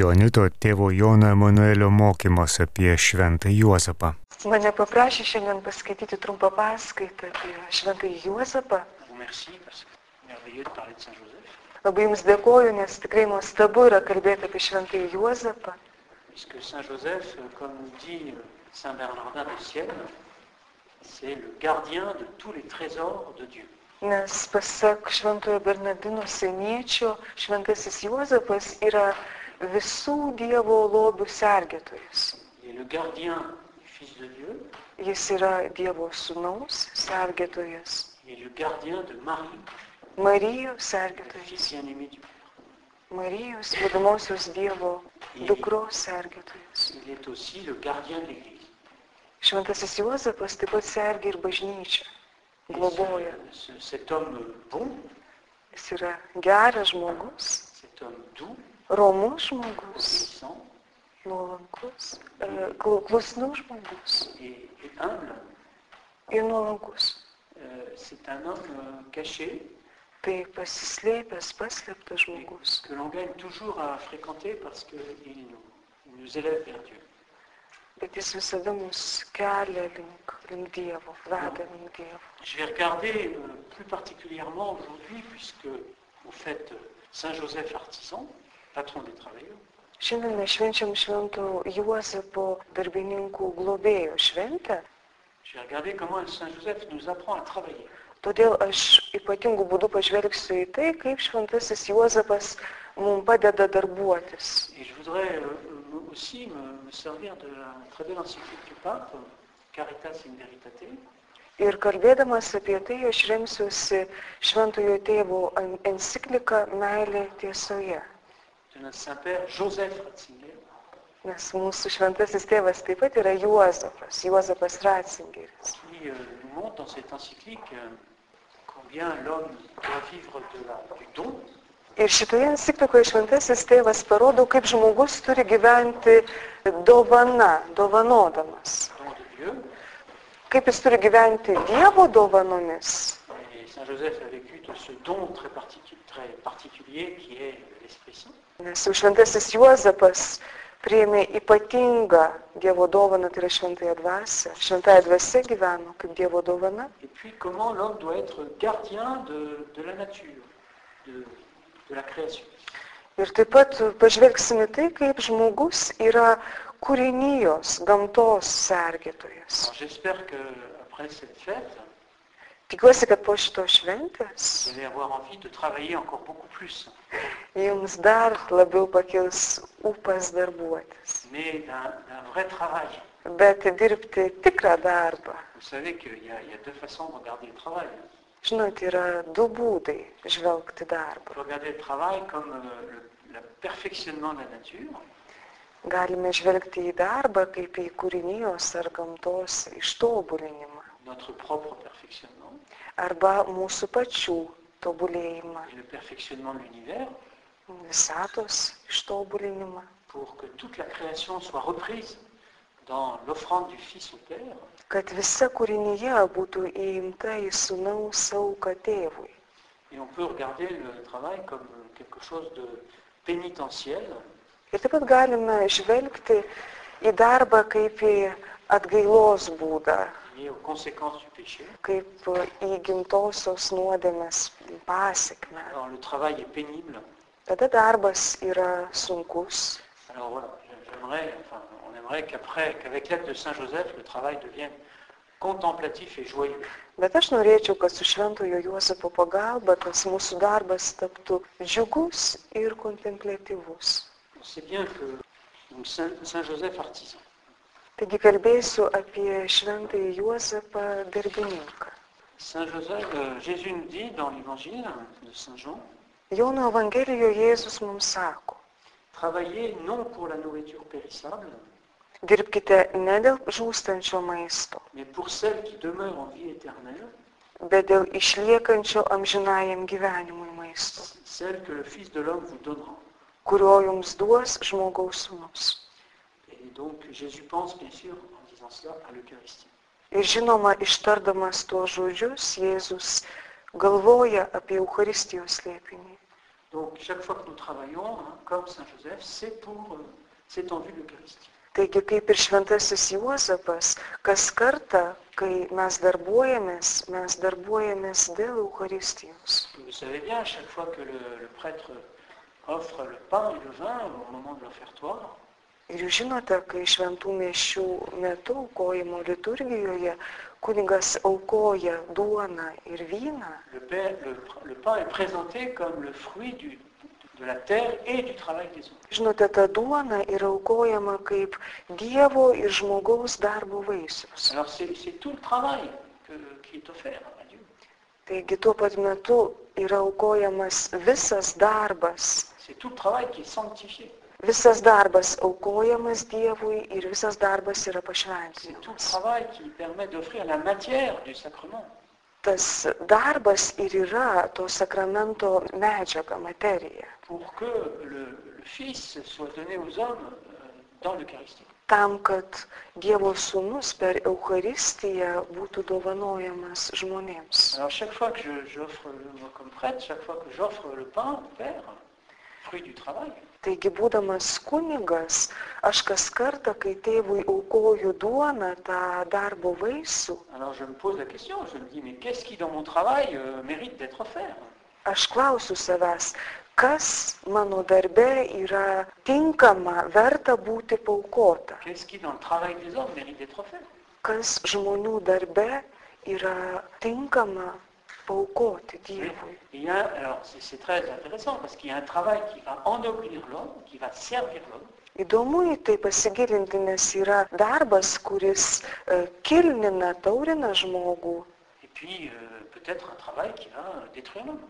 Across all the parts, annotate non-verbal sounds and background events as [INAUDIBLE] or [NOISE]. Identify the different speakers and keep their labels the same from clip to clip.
Speaker 1: Jonito tėvo Jono Emanuelio mokymas apie Šventą Juozapą.
Speaker 2: Mane paprašė šiandien paskaityti trumpą paskaitą apie Šventąjį Juozapą.
Speaker 3: Je vous remercie parce que c'est merveilleux de parler de Saint-Joseph,
Speaker 2: Labai Jums dėkoju, nes tikrai nuostabu yra kalbėti apie Šventąjį Juozapą.
Speaker 3: puisque Saint-Joseph, euh, comme nous dit euh, Saint Bernardin de Sienne, c'est le gardien de tous les trésors de Dieu.
Speaker 2: Nes pasak Šventojo Bernardino Seniečio, Šventasis Juozapas yra visų Dievo lobių sergėtojas.
Speaker 3: Il est le gardien du Fils de Dieu,
Speaker 2: Jis yra Dievo sūnaus sergėtojas,
Speaker 3: il est le gardien de Marie,
Speaker 2: Marijos
Speaker 3: la
Speaker 2: sergėtojas,
Speaker 3: fille bien-aimée du Père.
Speaker 2: Marijos vadamosios Dievo dukros sergėtojas.
Speaker 3: Il est aussi le gardien de l'Église.
Speaker 2: Šventasis Juozapas taip pat sergi ir bažnyčią,
Speaker 3: Et
Speaker 2: globoja.
Speaker 3: ce- ce- cet homme bon,
Speaker 2: Jis yra geras žmogus,
Speaker 3: cet homme doux,
Speaker 2: romus žmogus,
Speaker 3: obéissant
Speaker 2: nuolankus, e, klu- klusnus žmogus
Speaker 3: et, et humble,
Speaker 2: ir nuolankus.
Speaker 3: euh, c'est un homme euh, caché
Speaker 2: Tai pasislėpęs, paslėptas
Speaker 3: et
Speaker 2: žmogus,
Speaker 3: que l'on gagne toujours à fréquenter parce qu'il nous, il nous élève vers Dieu.
Speaker 2: bet jis visada mus kelia link, link Dievo, veda link Dievo.
Speaker 3: Je vais regarder euh, plus particulièrement aujourd'hui, puisque on fête euh, Saint Joseph l'artisan, patron des travailleurs.
Speaker 2: Šiandien mes švenčiam švento Juozapo darbininkų globėjo šventę,
Speaker 3: Je vais regarder comment Saint Joseph nous apprend à travailler.
Speaker 2: todėl aš ypatingų būdų pažvelgsiu į tai, kaip šventasis Juozapas mums padeda darbuotis.
Speaker 3: Et je voudrais euh, euh, aussi me, me servir de la très belle encyclique du pape, euh, Caritas in Veritate,
Speaker 2: Ir kalbėdamas apie tai, aš remsiuosi šventojo tėvo en- encikliką Meilė tiesoje.
Speaker 3: de notre Saint-Père Joseph Ratzinger,
Speaker 2: Nes mūsų šventasis tėvas taip pat yra Juozapas, Juozapas Ratzingeris.
Speaker 3: qui euh, nous montre dans cette encyclique euh, combien l'homme doit vivre de la- du don,
Speaker 2: Ir šitoje enciklikoje šventasis tėvas parodo, kaip žmogus turi gyventi dovana, dovanodamas.
Speaker 3: don de Dieu.
Speaker 2: Kaip jis turi gyventi Dievo dovanomis.
Speaker 3: Et Saint Joseph a vécu de ce don très, particu- très particulier qui est l'Esprit Saint.
Speaker 2: Nes jau šventasis Juozapas priėmė ypatingą Dievo dovaną, tai yra šventąją dvasę. Šventąją dvasę gyveno kaip Dievo dovana.
Speaker 3: Et puis comment l'homme doit être gardien de, de la nature, de, de la création.
Speaker 2: Ir taip pat pažvelgsime tai, kaip žmogus yra kūrinijos, gamtos sergėtojas.
Speaker 3: Alors, J'espère qu'après cette fête,
Speaker 2: Tikiuosi, kad po šito šventės
Speaker 3: vous allez avoir envie de travailler encore beaucoup plus,
Speaker 2: jums dar labiau pakils upas darbuotis.
Speaker 3: mais d'un d'un vrai travail.
Speaker 2: Bet dirbti tikrą darbą.
Speaker 3: Vous savez qu'il y, a- il y a deux façons de regarder le travail.
Speaker 2: Žinot, yra du būdai žvelgti
Speaker 3: On
Speaker 2: darbą.
Speaker 3: peut regarder le travail comme euh, le, le perfectionnement de la nature,
Speaker 2: Galime žvelgti į darbą kaip į kūrinijos ar gamtos ištobulinimą
Speaker 3: notre propre perfectionnement,
Speaker 2: arba mūsų pačių tobulėjimą,
Speaker 3: et le perfectionnement de l'univers,
Speaker 2: visatos ištobulinimą,
Speaker 3: pour que toute la création soit reprise dans l'offrande du Fils au Père,
Speaker 2: kad visa kūrinyje būtų įimta į sunaus auką tėvui.
Speaker 3: et on peut regarder le travail comme quelque chose de pénitentiel,
Speaker 2: Ir taip pat galime žvelgti į darbą kaip į atgailos būdą,
Speaker 3: lié aux conséquences du péché.
Speaker 2: kaip į gimtosios nuodėmės pasiekmę.
Speaker 3: Alors le travail est pénible.
Speaker 2: Tada darbas yra sunkus.
Speaker 3: Alors voilà, j'aimerais, enfin, on aimerait qu'après, qu'avec l'aide de Saint Joseph, le travail devienne contemplatif et joyeux.
Speaker 2: Bet aš norėčiau, kad su šventojo Juozapo pagalba tas mūsų darbas taptų džiugus ir kontemplatyvus.
Speaker 3: On sait bien que donc, Saint, Saint Joseph artisan.
Speaker 2: Taigi kalbėsiu apie šventąjį Juozapą darbininką.
Speaker 3: Saint Joseph, euh, Jésus nous dit dans l'évangile de Saint Jean,
Speaker 2: Jono Evangelijoje Jėzus mums sako,
Speaker 3: travaillez non pour la nourriture périssable,
Speaker 2: dirbkite ne dėl žūstančio maisto,
Speaker 3: mais pour celle qui demeure en vie éternelle,
Speaker 2: bet dėl išliekančio amžinajam gyvenimui maisto,
Speaker 3: celle que le Fils de l'homme vous donnera.
Speaker 2: kurio jums duos žmogaus sūnus.
Speaker 3: Et donc Jésus pense bien sûr en disant cela à l'Eucharistie.
Speaker 2: Ir žinoma, ištardamas tuos žodžius, Jėzus galvoja apie Eucharistijos slėpinį.
Speaker 3: Donc chaque fois que nous travaillons, hein, comme Saint Joseph, c'est pour, euh, c'est en vue de l'Eucharistie.
Speaker 2: Taigi, kaip ir šventasis Juozapas, kas kartą, kai mes darbuojamės, mes darbuojamės dėl Eucharistijos.
Speaker 3: Vous savez bien, chaque fois que le, le prêtre offre le pain et le vin au moment de l'offertoire,
Speaker 2: Ir jūs žinote, kai šventų mišių metu aukojimo liturgijoje kunigas aukoja duoną ir vyną,
Speaker 3: le, pain- le pr- le pain est présenté comme le fruit du- de la terre et du travail des hommes.
Speaker 2: žinote, ta duona yra aukojama kaip Dievo ir žmogaus darbo vaisius.
Speaker 3: Alors c'est c'est tout le travail que- qui est offert à Dieu.
Speaker 2: Taigi tuo pat metu yra aukojamas visas darbas,
Speaker 3: C'est tout le travail qui est sanctifié.
Speaker 2: visas darbas aukojamas Dievui ir visas darbas yra
Speaker 3: C'est tout le
Speaker 2: pašventinamas.
Speaker 3: travail qui permet d'offrir la matière du sacrement.
Speaker 2: Tas darbas ir yra to sakramento medžiaga, materija.
Speaker 3: pour que le, le Fils soit donné aux hommes euh, dans l'Eucharistie.
Speaker 2: tam, kad Dievo sūnus per Eucharistiją būtų dovanojamas žmonėms.
Speaker 3: Alors chaque fois que je- j'offre le moi comme prêtre, chaque fois que j'offre le pain au Père, fruit du travail,
Speaker 2: Taigi, būdamas kunigas, aš kas kartą, kai tėvui aukoju duoną, tą darbo vaisių,
Speaker 3: alors je me pose la question, je me dis mais qu'est-ce qui dans mon travail euh, mérite d'être offert
Speaker 2: aš klausiu savęs, kas mano darbe yra tinkama, verta būti paukota,
Speaker 3: Qu'est-ce qui dans le travail des hommes mérite d'être offert
Speaker 2: kas žmonių darbe yra tinkama paukoti Dievui.
Speaker 3: Il y a, alors c'est c'est très intéressant parce qu'il y a un travail qui va ennoblir l'homme, qui va servir l'homme,
Speaker 2: Įdomu į tai pasigilinti, nes yra darbas, kuris e, kilnina, taurina žmogų
Speaker 3: et puis euh, peut-être un travail qui va euh, détruire l'homme.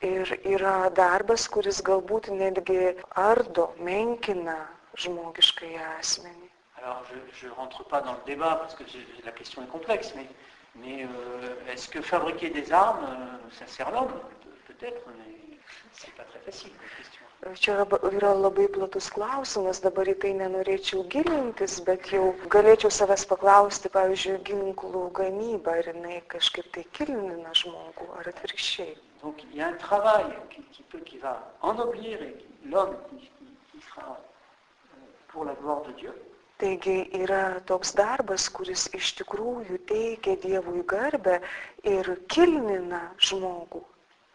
Speaker 2: ir yra darbas, kuris galbūt netgi ardo, menkina žmogiškai asmenį.
Speaker 3: Alors, je ne rentre pas dans le débat parce que je- la question est complexe, mais, mais, euh, est-ce que fabriquer des armes, euh, ça sert l'homme Pe- Peut-être, mais c'est pas très facile comme question.
Speaker 2: Čia lab- yra labai platus klausimas, dabar į tai nenorėčiau gilintis, bet jau galėčiau savęs paklausti, pavyzdžiui, ginklų gamyba, ar jinai kažkaip tai kilnina žmogų, ar atvirkščiai.
Speaker 3: Donc, il y a un travail qui, qui peut, qui va ennoblir et qui- l'homme qui, qui- qui sera euh, pour la gloire de Dieu.
Speaker 2: Taigi yra toks darbas, kuris iš tikrųjų teikia Dievui garbę ir kilnina žmogų.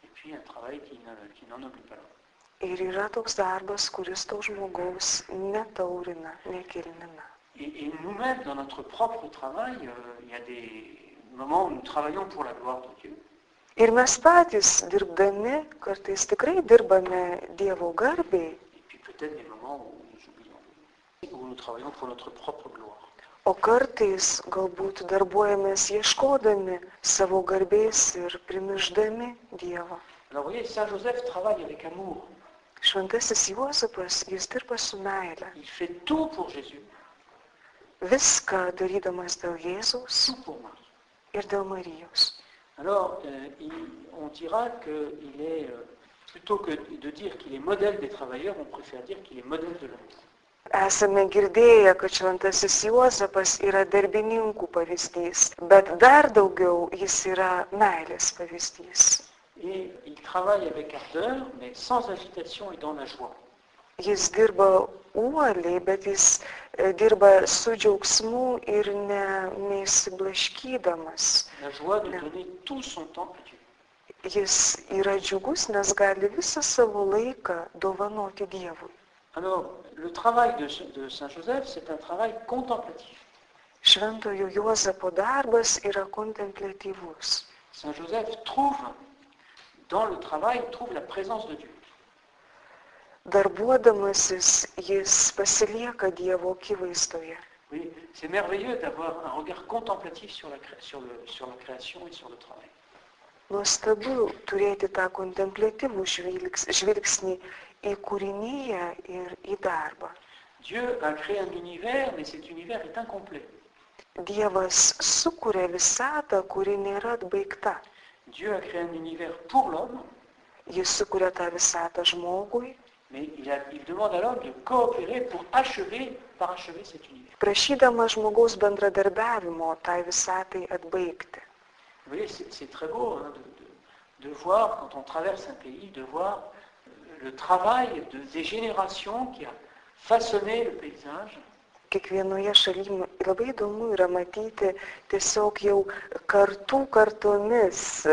Speaker 3: Et puis, un travail qui ne- qui n'ennoblit pas l'homme.
Speaker 2: Ir yra toks darbas, kuris to žmogaus netaurina, nekilnina.
Speaker 3: Et, et nous-mêmes, dans notre propre travail, euh, il y a des moments où nous travaillons pour la gloire de Dieu.
Speaker 2: Ir mes patys dirbdami, kartais tikrai dirbame Dievo garbiai,
Speaker 3: Et puis peut-être des moments où nous oublions, où nous travaillons pour notre propre gloire.
Speaker 2: o kartais galbūt darbuojamės ieškodami savo garbės ir primiždami Dievą.
Speaker 3: Alors vous voyez, Saint Joseph travaille avec amour.
Speaker 2: Šventasis Juozapas, jis dirba su meile.
Speaker 3: Il fait tout pour Jésus,
Speaker 2: Viską darydamas dėl Jėzaus.
Speaker 3: tout pour Marie.
Speaker 2: ir dėl Marijos.
Speaker 3: Alors euh, il- on dira qu'il est, euh, plutôt que de dire qu'il est modèle des travailleurs, on préfère dire qu'il est modèle de l'amour.
Speaker 2: Esame girdėję, kad šventasis Juozapas yra darbininkų pavyzdys, bet dar daugiau jis yra meilės pavyzdys.
Speaker 3: Et il travaille avec ardeur, mais sans agitation et dans la joie.
Speaker 2: Jis dirba uoliai, bet jis e, dirba su džiaugsmu ir ne, neįsiblaškydamas.
Speaker 3: La joie de
Speaker 2: Là.
Speaker 3: donner tout son temps à Dieu.
Speaker 2: Jis yra džiugus, nes gali visą savo laiką dovanoti Dievui.
Speaker 3: Alors le travail de, ce- de Saint Joseph, c'est un travail contemplatif.
Speaker 2: Šventojo Juozapo darbas yra kontemplatyvus.
Speaker 3: Saint Joseph trouve dans le travail, trouve la présence de Dieu.
Speaker 2: Darbuodamasis jis pasilieka Dievo akivaizdoje.
Speaker 3: Oui, c'est merveilleux d'avoir un regard contemplatif sur la, cré- sur le- sur la création et sur le travail.
Speaker 2: Nuostabu turėti tą kontemplatyvų žvilgs, žvilgsnį į kūrinyje ir į darbą.
Speaker 3: Dieu a créé un univers, mais cet univers est incomplet.
Speaker 2: Dievas sukuria visatą, kuri nėra atbaigta.
Speaker 3: Dieu a créé un univers pour l'homme,
Speaker 2: Jis sukuria tą visatą žmogui,
Speaker 3: mais il, a- il demande à l'homme de coopérer pour achever, parachever cet univers.
Speaker 2: prašydama žmogaus bendradarbiavimo tai visatai atbaigti.
Speaker 3: Vous voyez, c'est c'est très beau hein, de, de- de voir, quand on traverse un pays, de voir euh, le travail de, des générations qui a façonné le paysage.
Speaker 2: Kiekvienoje šalyje labai įdomu yra matyti tiesiog jau kartų kartomis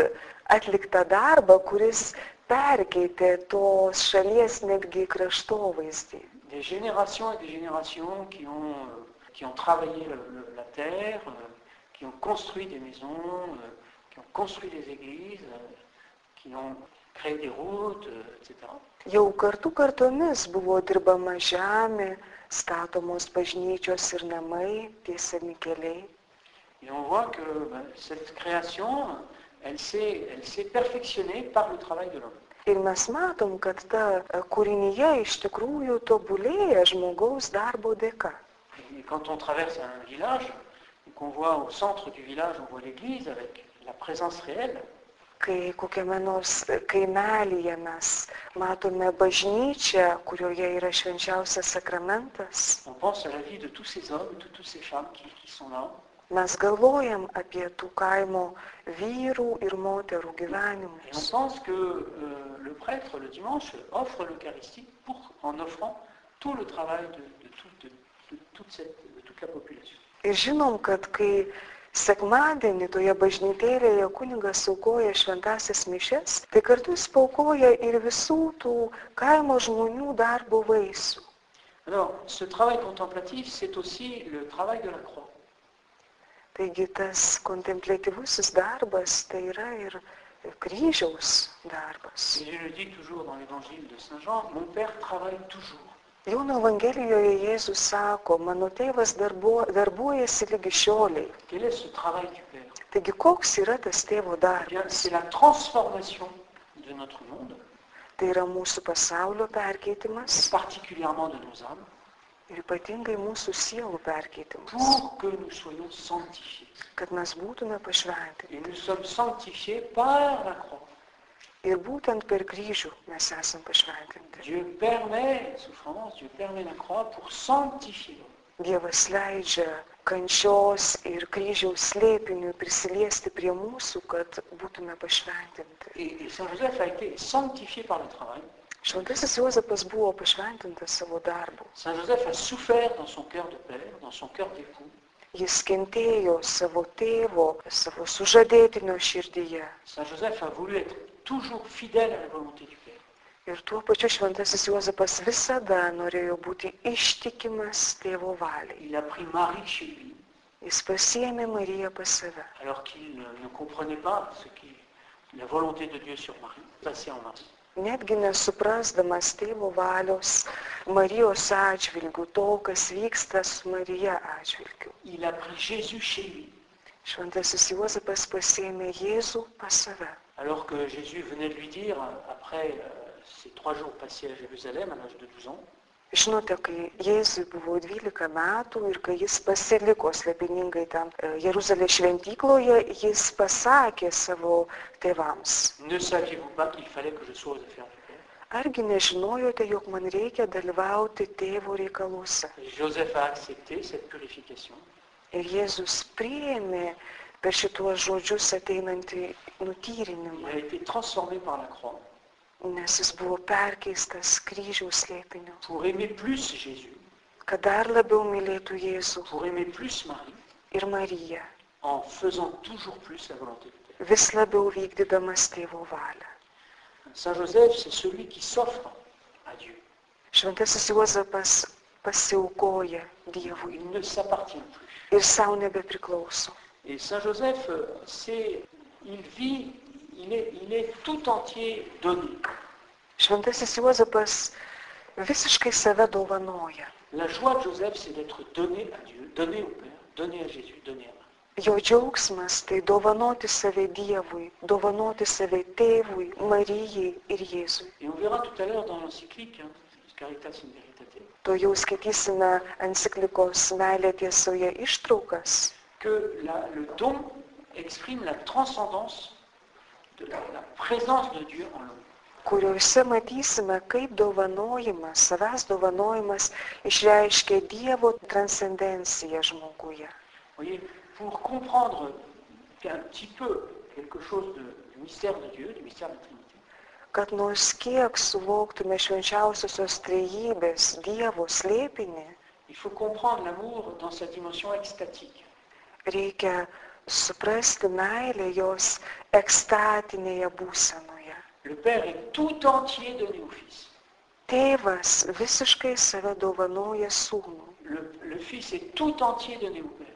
Speaker 2: atliktą darbą, kuris perkeitė tos šalies netgi kraštovaizdį.
Speaker 3: Des générations et des générations qui ont, euh, qui ont travaillé le- le- la terre, euh, qui ont construit des maisons, euh, qui ont construit des églises, euh, qui ont créé des routes, euh, etc.
Speaker 2: Jau kartų kartomis buvo dirbama žemė, statomos bažnyčios ir namai, tiesiami keliai.
Speaker 3: Et on voit que ben, cette création, elle s'est, elle s'est perfectionnée par le travail de l'homme.
Speaker 2: Ir mes matom, kad ta e, kūrinyje iš tikrųjų tobulėja žmogaus darbo dėka.
Speaker 3: Et quand on traverse un village, et qu'on voit au centre du village, on voit l'église avec la présence réelle,
Speaker 2: Kai kokiame nors kaimelyje mes matome bažnyčią, kurioje yra švenčiausias sakramentas,
Speaker 3: on pense à la vie de tous ces hommes, de toutes ces femmes qui, qui sont là.
Speaker 2: mes galvojam apie tų kaimo vyrų ir moterų
Speaker 3: Et on
Speaker 2: gyvenimus.
Speaker 3: pense que euh, le prêtre, le dimanche, offre l'Eucharistie pour, en offrant tout le travail de, de tout- de- de toute cette- de toute la population.
Speaker 2: Ir žinom, kad kai sekmadienį toje bažnytėlėje kunigas aukoja šventasias mišes, tai kartu jis paukoja ir visų tų kaimo žmonių darbo vaisių.
Speaker 3: Alors, ce travail contemplatif, c'est aussi le travail de la croix.
Speaker 2: Taigi tas kontemplatyvusis darbas tai yra ir kryžiaus darbas.
Speaker 3: Et je le dis toujours dans l'évangile de Saint Jean, mon Père travaille toujours.
Speaker 2: Jono Evangelijoje Jėzus sako, mano tėvas darbuo, darbuojasi lygi šioliai.
Speaker 3: Quel est ce travail du Père
Speaker 2: Taigi koks yra tas tėvo
Speaker 3: Eh bien,
Speaker 2: darbas?
Speaker 3: c'est la transformation de notre monde,
Speaker 2: Tai yra mūsų pasaulio perkeitimas
Speaker 3: particulièrement de nos âmes,
Speaker 2: ir ypatingai mūsų sielų perkeitimas,
Speaker 3: pour que nous soyons sanctifiés.
Speaker 2: kad mes būtume pašventinti.
Speaker 3: Et nous sommes sanctifiés par la croix.
Speaker 2: Ir būtent per kryžių mes esam pašventinti.
Speaker 3: Dieu permet la souffrance, Dieu permet la croix pour sanctifier l'homme.
Speaker 2: Dievas leidžia kančios ir kryžiaus slėpinių prisiliesti prie mūsų, kad būtume pašventinti.
Speaker 3: Et, et Saint Joseph a été sanctifié par le travail.
Speaker 2: Šventasis Juozapas buvo pašventintas savo darbu.
Speaker 3: Saint Joseph a souffert dans son cœur de père, dans son cœur d'époux.
Speaker 2: Jis kentėjo savo tėvo, savo sužadėtinio širdyje.
Speaker 3: Saint Joseph a voulu être toujours fidèle à la volonté du Père.
Speaker 2: Ir tuo pačiu šventasis Juozapas visada norėjo būti ištikimas tėvo valiai.
Speaker 3: Il a pris Marie chez lui,
Speaker 2: Jis pasiėmė Mariją pas save,
Speaker 3: alors qu'il ne ne comprenait pas ce qui, la volonté de Dieu sur Marie, passée en Marie.
Speaker 2: netgi nesuprasdamas tėvo valios Marijos atžvilgių, to, kas vyksta su Marija atžvilgiu.
Speaker 3: Il a pris Jésus chez lui,
Speaker 2: Šventasis Juozapas pasiėmė Jėzų pas save.
Speaker 3: alors que Jésus venait de lui dire, après euh, ces trois jours passés à Jérusalem, à l'âge de 12 ans,
Speaker 2: Žinote, kai Jėzui buvo 12 metų ir kai jis pasiliko slepiningai ten e, Jeruzalės šventykloje, jis pasakė savo tėvams,
Speaker 3: Ne saviez-vous pas qu'il fallait que je sois aux affaires du Père
Speaker 2: argi nežinojote, jog man reikia dalyvauti tėvo reikaluose.
Speaker 3: Et Joseph a accepté cette purification.
Speaker 2: Ir Jėzus priėmė per šituos žodžius ateinantį
Speaker 3: Il
Speaker 2: nutyrinimą,
Speaker 3: a été transformé par la croix
Speaker 2: nes jis buvo perkeistas kryžiaus slėpiniu,
Speaker 3: pour aimer plus Jésus,
Speaker 2: kad dar labiau mylėtų Jėzų
Speaker 3: pour aimer plus Marie,
Speaker 2: ir Mariją,
Speaker 3: en faisant toujours plus la volonté du Père.
Speaker 2: vis labiau vykdydamas tėvo valią.
Speaker 3: Saint Joseph, c'est celui qui s'offre à Dieu.
Speaker 2: Šventasis Juozapas pasiaukoja Dievui
Speaker 3: Il ne s'appartient plus.
Speaker 2: ir savo nebepriklauso.
Speaker 3: Et Saint Joseph, euh, c'est, il vit, il est, il est tout entier donné.
Speaker 2: Šventasis Juozapas visiškai save dovanoja.
Speaker 3: La joie de Joseph, c'est d'être donné à Dieu, donné au Père, donné à Jésus, donné à Marie.
Speaker 2: Jo džiaugsmas tai dovanoti save Dievui, dovanoti save tėvui, Marijai ir Jėzui.
Speaker 3: Et on verra tout à l'heure dans l'encyclique, hein, Caritas in Veritate,
Speaker 2: To jau skaitysime enciklikos meilė tiesoje ištraukas,
Speaker 3: que la- le don exprime la transcendance de la, la présence de Dieu en l'homme.
Speaker 2: kuriuose matysime, kaip dovanojimas, savęs dovanojimas išreiškia Dievo transcendenciją žmoguje.
Speaker 3: Vous voyez, pour comprendre un petit peu quelque chose de- du mystère de Dieu, du mystère de la Trinité,
Speaker 2: kad nors kiek suvoktume švenčiausiosios trejybės Dievo slėpinį,
Speaker 3: Il faut comprendre l'amour dans sa dimension extatique.
Speaker 2: reikia suprasti meilę jos ekstatinėje būsenoje.
Speaker 3: Le Père est tout entier donné au Fils.
Speaker 2: Tėvas visiškai save dovanoja sūnų
Speaker 3: Le, le Fils est tout entier donné au Père.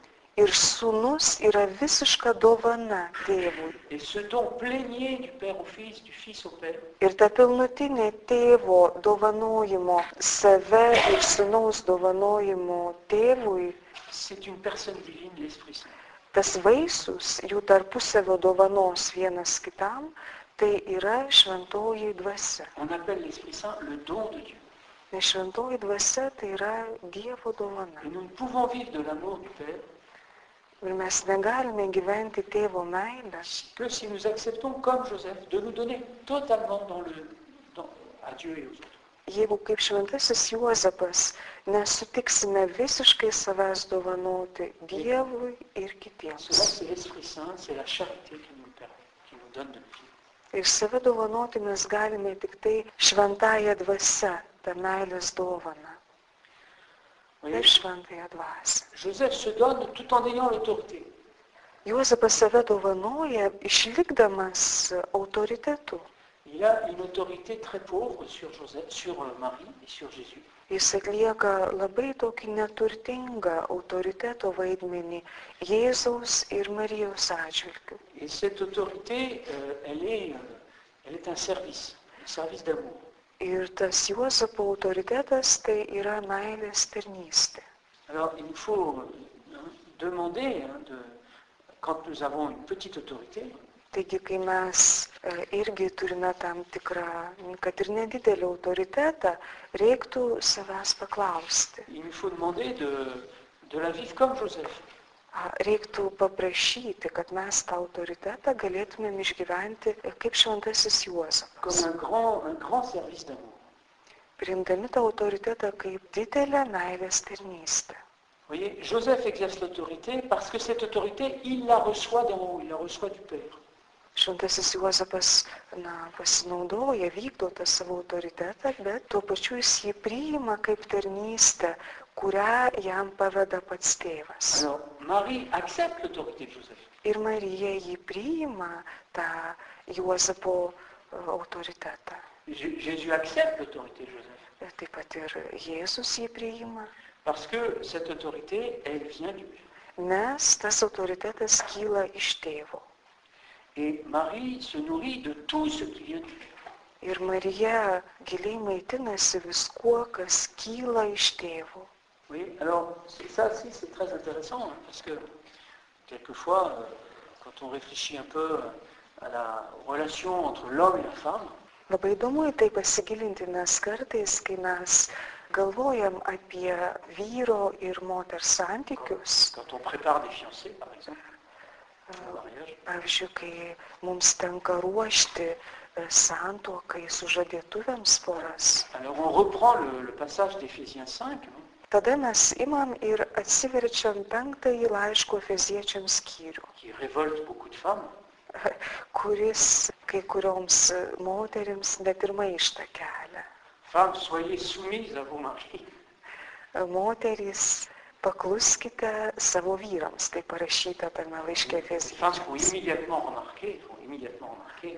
Speaker 2: ir sūnus yra visiška dovana tėvui.
Speaker 3: Et ce don plénier du Père au Fils, du Fils au Père,
Speaker 2: Ir ta pilnutinė tėvo dovanojimo, save ir sūnaus dovanojimo tėvui,
Speaker 3: c'est une personne divine, l'Esprit Saint.
Speaker 2: tas vaisius, jų tarpusavio dovanos vienas kitam, tai yra šventoji dvasia.
Speaker 3: On appelle l'Esprit Saint le don de Dieu.
Speaker 2: Nes šventoji dvasia tai yra Dievo dovana.
Speaker 3: Et nous ne pouvons vivre de l'amour du Père
Speaker 2: Ir mes negalime gyventi tėvo meilę,
Speaker 3: que si nous acceptons, comme Joseph, de nous donner totalement dans le, dans- à Dieu et aux autres.
Speaker 2: jeigu kaip šventasis Juozapas nesutiksime visiškai savęs dovanoti Dievui ir
Speaker 3: Cela,
Speaker 2: kitiems.
Speaker 3: c'est l'Esprit Saint, c'est la charité qui nous le permet, qui nous donne de le vivre.
Speaker 2: Ir save dovanoti mes galime tik tai šventąją dvasę, tą meilės dovaną.
Speaker 3: Vous voyez,
Speaker 2: Ir šventąją dvasę.
Speaker 3: Joseph se donne tout en ayant l'autorité.
Speaker 2: Juozapas save dovanoja išlikdamas autoritetu.
Speaker 3: Il a une autorité très pauvre sur, Joseph, sur euh, Marie et sur Jésus.
Speaker 2: Jis atlieka labai tokį neturtingą autoriteto vaidmenį Jėzaus ir Marijos atžvilgių.
Speaker 3: Et cette autorité, euh, elle, est, euh, elle est un service, un service d'amour.
Speaker 2: Ir tas Juozapo autoritetas tai yra meilės tarnystė.
Speaker 3: Alors il nous faut euh, demander, hein, de- quand nous avons une petite autorité,
Speaker 2: Taigi, kai mes e, irgi turime tam tikrą, kad ir nedidelį autoritetą, reiktų savęs paklausti.
Speaker 3: il nous faut demander de, de la vivre comme Joseph.
Speaker 2: A, Reiktų paprašyti, kad mes tą autoritetą galėtumėm išgyventi e, kaip šventasis Juozapas.
Speaker 3: comme un grand, un grand service d'amour.
Speaker 2: priimdami tą autoritetą kaip didelę meilės tarnystę.
Speaker 3: Vous voyez, Joseph exerce l'autorité parce que cette autorité, il la reçoit d'en haut, il la reçoit du Père.
Speaker 2: Šventasis Juozapas na, pasinaudoja, vykdo tą savo autoritetą, bet tuo pačiu jis jį priima kaip tarnystę, kurią jam paveda pats tėvas.
Speaker 3: Alors, Marie accepte l'autorité de Joseph.
Speaker 2: Ir Marija jį priima tą Juozapo e, autoritetą.
Speaker 3: J- Jésus accepte l'autorité de Joseph
Speaker 2: Ir Taip pat ir Jėzus jį priima,
Speaker 3: parce que cette autorité, elle vient du Père.
Speaker 2: nes tas autoritetas kyla iš tėvo.
Speaker 3: Et Marie se nourrit de tout ce qui vient du Père.
Speaker 2: Ir Marija giliai maitinasi viskuo, kas kyla iš tėvų.
Speaker 3: Vous voyez, alors c'est- ça aussi, c'est très intéressant hein, parce que quelquefois, euh, quand on réfléchit un peu euh, à la relation entre l'homme et la femme,
Speaker 2: Labai įdomu į tai pasigilinti, nes kartais, kai mes galvojam apie vyro ir moters santykius,
Speaker 3: Quand on prépare des fiancés, par exemple, au mariage,
Speaker 2: pavyzdžiui, kai mums tenka ruošti e, santuokai sužadėtuvėms poras,
Speaker 3: alors on reprend le, le passage d'Éphésiens 5, hein,
Speaker 2: tada mes imam ir atsiverčiam penktąjį laiško feziečiams skyrių, [LAUGHS]
Speaker 3: qui révolte beaucoup de femmes,
Speaker 2: kuris kai kurioms e, moterims net ir maištą kelia.
Speaker 3: Femmes, soyez soumises à vos maris,
Speaker 2: moterys, pakluskite savo vyrams, tai parašyta tame laiške
Speaker 3: les femmes
Speaker 2: Efeziečiams.
Speaker 3: vont immédiatement remarquer, vont immédiatement remarquer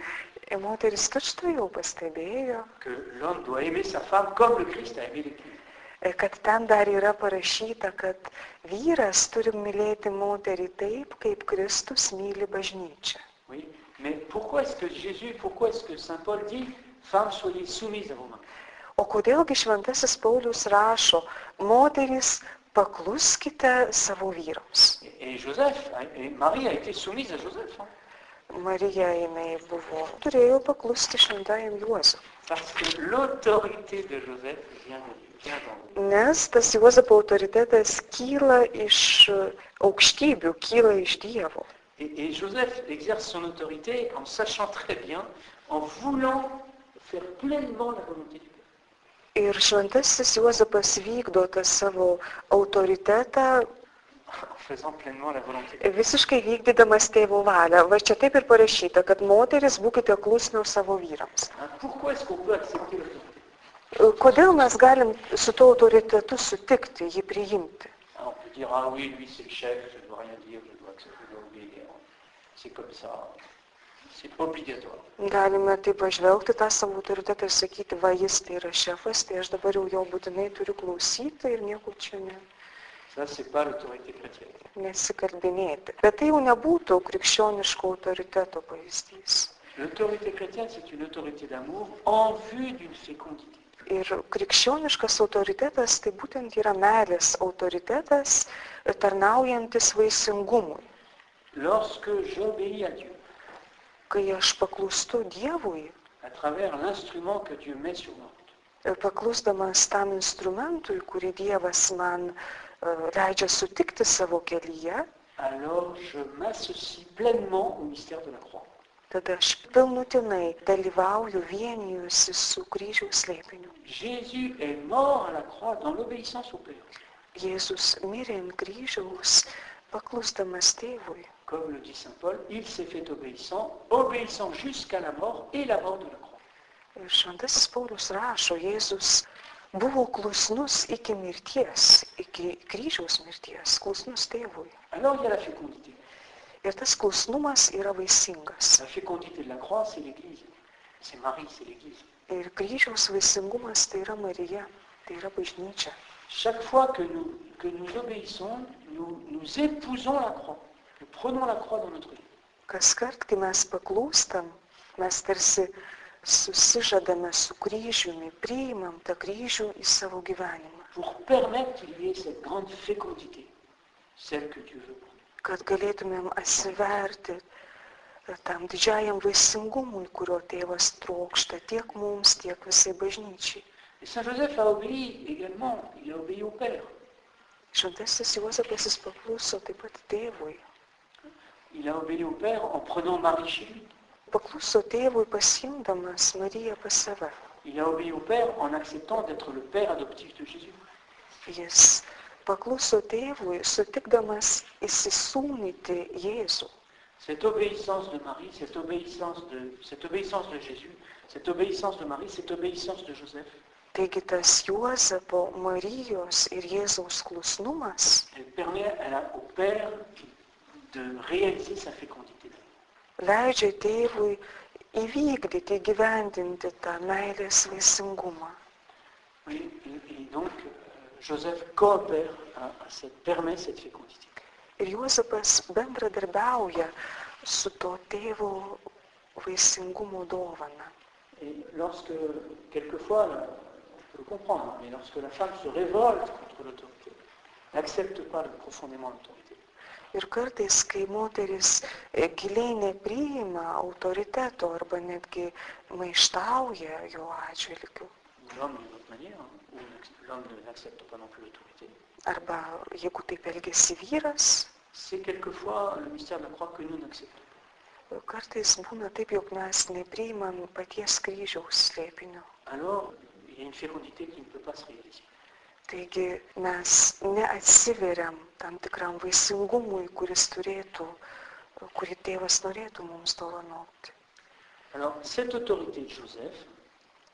Speaker 2: Moteris tučtu jau pastebėjo,
Speaker 3: que l'homme doit aimer sa femme comme le Christ a aimé l'Église.
Speaker 2: e, kad ten dar yra parašyta, kad vyras turi mylėti moterį taip, kaip Kristus myli bažnyčią.
Speaker 3: Oui. Mais pourquoi est-ce que Jésus, pourquoi est-ce que Saint Paul dit, femmes, soyez soumises à vos maris
Speaker 2: O kodėlgi šventasis Paulius rašo, moterys, pakluskite savo vyrams.
Speaker 3: Et- Et Joseph, hein, et Marie a été soumise à Joseph, hein,
Speaker 2: Marija jinai buvo, turėjo paklusti šventajam Juozui.
Speaker 3: parce que l'autorité de Joseph vient de Dieu, vient d'en haut.
Speaker 2: Nes tas Juozapo autoritetas kyla iš e, aukštybių, kyla iš Dievo.
Speaker 3: Et, et Joseph exerce son autorité en sachant très bien, en voulant faire pleinement la volonté du Père.
Speaker 2: Ir šventasis Juozapas vykdo tą savo autoritetą
Speaker 3: en faisant pleinement la volonté. de Dieu.
Speaker 2: Visiškai vykdydamas tėvų valią. Va čia taip ir parašyta, kad moteris būkite klusnios savo vyrams. E,
Speaker 3: Hein, Pourquoi est-ce qu'on peut accepter l'autorité
Speaker 2: Kodėl mes galim su tuo autoritetu sutikti, jį priimti?
Speaker 3: Hein, On peut dire, ah oui, lui c'est le chef, je ne dois rien dire, je dois, accepter, je dois obéir. C'est comme ça. C'est obligatoire.
Speaker 2: Galime taip pažvelgti tą savo autoritetą ir sakyti, va jis tai yra šefas, tai aš dabar jau jo būtinai turiu klausyti ir nieko čia ne,
Speaker 3: Ça, c'est pas l'autorité chrétienne.
Speaker 2: nesikalbinėti. Bet tai jau nebūtų krikščioniško autoriteto pavyzdys.
Speaker 3: L'autorité chrétienne, c'est une autorité d'amour en vue d'une fécondité.
Speaker 2: Ir krikščioniškas autoritetas tai būtent yra meilės autoritetas, e, tarnaujantis vaisingumui.
Speaker 3: Lorsque j'obéis à Dieu,
Speaker 2: Kai aš paklūstu Dievui,
Speaker 3: à travers l'instrument que Dieu met sur moi,
Speaker 2: paklūsdamas e, tam instrumentui, kurį Dievas man e, leidžia sutikti savo kelyje,
Speaker 3: alors je m'associe pleinement au mystère de la croix.
Speaker 2: tada aš pilnutinai dalyvauju vienijusi su kryžiaus slėpiniu.
Speaker 3: Jésus est mort à la croix dans l'obéissance au Père,
Speaker 2: Jėzus mirė ant kryžiaus, paklūsdamas tėvui.
Speaker 3: comme le dit Saint Paul, il s'est fait obéissant, obéissant jusqu'à la mort et la mort de la croix.
Speaker 2: Ir šventasis Paulius rašo, Jėzus buvo klusnus iki mirties, iki kryžiaus mirties, klusnus tėvui.
Speaker 3: Alors il y a la fécondité.
Speaker 2: Ir tas klusnumas yra vaisingas.
Speaker 3: La fécondité de la croix, c'est l'Église. C'est Marie, c'est l'Église.
Speaker 2: Ir kryžiaus vaisingumas tai yra Marija, tai yra bažnyčia.
Speaker 3: Chaque fois que nous, que nous obéissons, nous, nous épousons la croix. Nous prenons la croix dans notre vie.
Speaker 2: Kas kart, kai mes paklūstam, mes tarsi susižadame su kryžiumi, priimam tą kryžių į savo gyvenimą,
Speaker 3: Pour permettre qu'il y ait cette grande fécondité, celle que Dieu veut pour nous.
Speaker 2: kad galėtumėm atsiverti tam didžiajam vaisingumui, kurio tėvas trokšta tiek mums, tiek visai bažnyčiai.
Speaker 3: Et Saint Joseph a obéi également. Il a obéi au Père.
Speaker 2: Šventasis Juozapas jis pakluso taip pat tėvui.
Speaker 3: Il a obéi au Père en prenant Marie chez lui.
Speaker 2: Pakluso tėvui pasimdamas Mariją pas save.
Speaker 3: Il a obéi au Père en acceptant d'être le Père adoptif de Jésus.
Speaker 2: Jis pakluso tėvui, sutikdamas įsisūnyti Jėzų.
Speaker 3: Cette obéissance de Marie, cette obéissance de, cette obéissance de Jésus, cette obéissance de Marie, cette obéissance de Joseph,
Speaker 2: Taigi tas Juozapo, Marijos ir Jėzaus klusnumas,
Speaker 3: elle permet à la- au Père de réaliser sa fécondité.
Speaker 2: leidžia tėvui įvykdyti, gyvendinti tą meilės vaisingumą.
Speaker 3: Oui, et, et donc, euh, Joseph coopère à, à cette, permet cette fécondité.
Speaker 2: Ir Juozapas bendradarbiauja su to tėvo vaisingumo dovana.
Speaker 3: Et lorsque, quelquefois, là, on peut le comprendre, hein, mais lorsque la femme se révolte contre l'autorité, n'accepte pas profondément l'autorité,
Speaker 2: Ir kartais, kai moteris e, giliai nepriima autoriteto arba netgi maištauja jo atžvilgiu,
Speaker 3: ou l'homme d'une autre manière, hein, ou n'ac- l'homme ne- n'accepte pas non plus l'autorité,
Speaker 2: arba jeigu taip elgesi vyras,
Speaker 3: c'est quelquefois le mystère de la croix que nous n'acceptons pas.
Speaker 2: kartais būna taip, jog mes nepriimam paties kryžiaus slėpinio.
Speaker 3: Alors, il y a une fécondité qui ne peut pas se réaliser.
Speaker 2: Taigi mes neatsiveriam tam tikram vaisingumui, kuris turėtų, kurį tėvas norėtų mums dovanoti.
Speaker 3: Alors, cette autorité de Joseph,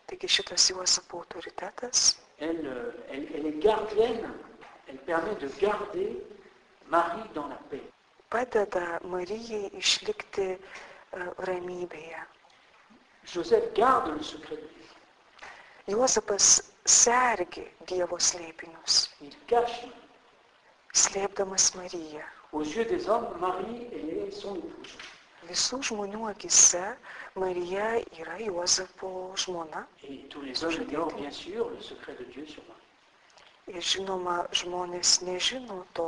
Speaker 2: Taigi šitas Juozapo autoritetas
Speaker 3: elle, euh, elle- elle est gardienne, elle permet de garder Marie dans la paix.
Speaker 2: padeda Marijai išlikti e, ramybėje.
Speaker 3: Joseph garde le secret de Dieu.
Speaker 2: Juozapas sergi Dievo slėpinius,
Speaker 3: Il cache.
Speaker 2: slėpdamas Mariją.
Speaker 3: Aux yeux des hommes, Marie est son épouse.
Speaker 2: Visų žmonių akise Marija yra Juozapo žmona.
Speaker 3: Et tous les hommes ignorent bien sûr le secret de Dieu sur Marie.
Speaker 2: Ir žinoma, žmonės nežino to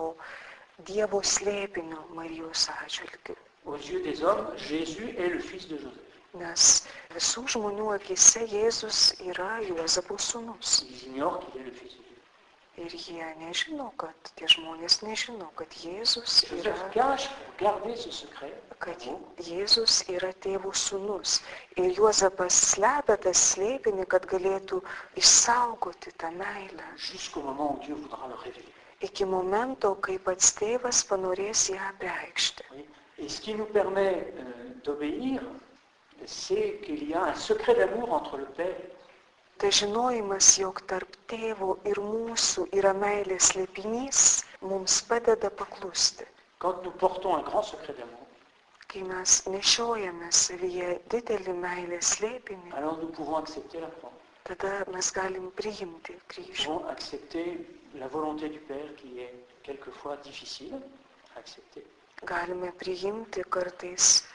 Speaker 2: Dievo slėpinio Marijos atžvilgių.
Speaker 3: Aux yeux des hommes, Jésus est le fils de Joseph.
Speaker 2: Nes visų žmonių akise Jėzus yra Juozapo sūnus.
Speaker 3: Ils ignorent qu'il est le fils de Dieu.
Speaker 2: Ir jie nežino, kad tie žmonės nežino, kad Jėzus
Speaker 3: Joseph
Speaker 2: yra,
Speaker 3: cache pour garder ce secret.
Speaker 2: kad Jėzus yra tėvų sūnus. Ir Juozapas slepia tą slėpinį, kad galėtų išsaugoti tą meilę
Speaker 3: jusqu'au moment où Dieu voudra le révéler.
Speaker 2: iki momento, kai pats tėvas panorės ją apreikšti.
Speaker 3: Oui. Et ce qui nous permet euh, d'obéir, c'est qu'il y a un secret d'amour entre le Père
Speaker 2: Tai žinojimas, jog tarp tėvo ir mūsų yra meilės slėpinys, mums padeda paklusti.
Speaker 3: quand nous portons un grand secret d'amour.
Speaker 2: Kai mes nešiojame savyje didelį meilės slėpinį,
Speaker 3: Alors nous pouvons accepter la croix.
Speaker 2: Tada mes galim priimti
Speaker 3: Nous
Speaker 2: kryžių.
Speaker 3: pouvons accepter la volonté du Père qui est quelquefois difficile à accepter.
Speaker 2: Galime priimti kartais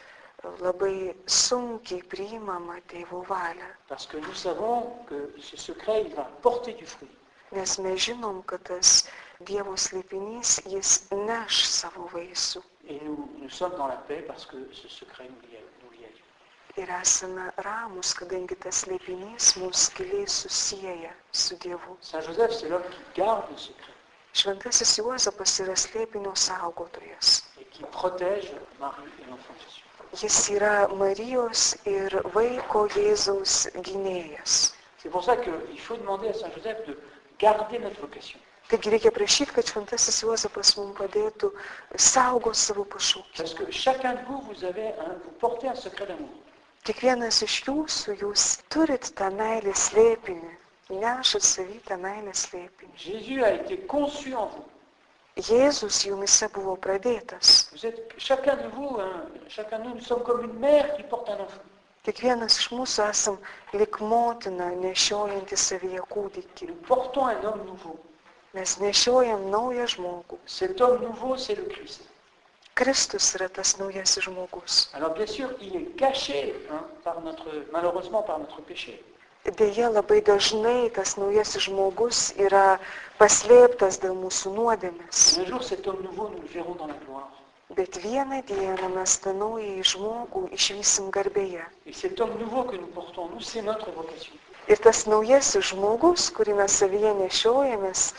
Speaker 2: labai sunkiai priimamą tėvų valią.
Speaker 3: Parce que nous savons que ce secret, il va porter du fruit.
Speaker 2: Nes mes žinom, kad tas Dievo slėpinys, jis neš savo vaisių.
Speaker 3: Et nous, nous sommes dans la paix parce que ce secret nous lie à- nous lie à Dieu.
Speaker 2: Ir esame ramus, kadangi tas slėpinys mus giliai susijęja su Dievu.
Speaker 3: Saint Joseph, c'est l'homme qui garde le secret
Speaker 2: Šventasis Juozapas yra slėpinio saugotojas.
Speaker 3: et qui protège Marie et l'enfant Jésus.
Speaker 2: Jis yra Marijos ir vaiko Jėzaus gynėjas.
Speaker 3: C'est pour ça qu'il faut demander à Saint Joseph de garder notre vocation.
Speaker 2: Taigi reikia prašyti, kad šventasis Juozapas mums padėtų saugo savo
Speaker 3: Parce
Speaker 2: pašaukimą.
Speaker 3: que chacun de vous, vous, avez un- vous portez un secret d'amour.
Speaker 2: Kiekvienas iš jūsų, jūs turit tą meilės slėpinį, nešat savį tą meilės slėpinį.
Speaker 3: Jésus a été conçu en vous.
Speaker 2: Jėzus jumise buvo pradėtas.
Speaker 3: vous êtes, chacun de vous, hein, chacun de nous, nous sommes comme une mère qui porte un enfant.
Speaker 2: Kiekvienas iš mūsų esam lik motina nešiojanti savyje
Speaker 3: Et
Speaker 2: kūdikį.
Speaker 3: nous portons un homme nouveau.
Speaker 2: Mes nešiojam naują žmogų.
Speaker 3: Cet homme nouveau, c'est le Christ.
Speaker 2: Kristus yra tas naujasis žmogus.
Speaker 3: Alors bien sûr, il est caché, hein, par notre, malheureusement par notre péché.
Speaker 2: Deja labai dažnai tas naujasis žmogus yra paslėptas dėl mūsų nuodėmės.
Speaker 3: Et un jour, cet homme nouveau, nous le verrons dans la gloire.
Speaker 2: Bet vieną dieną mes tą naują žmogų išvysim garbėje.
Speaker 3: Et cet homme nouveau que nous portons, nous, c'est notre vocation.
Speaker 2: Ir tas naujasis žmogus, kurį mes savyje nešiojamės,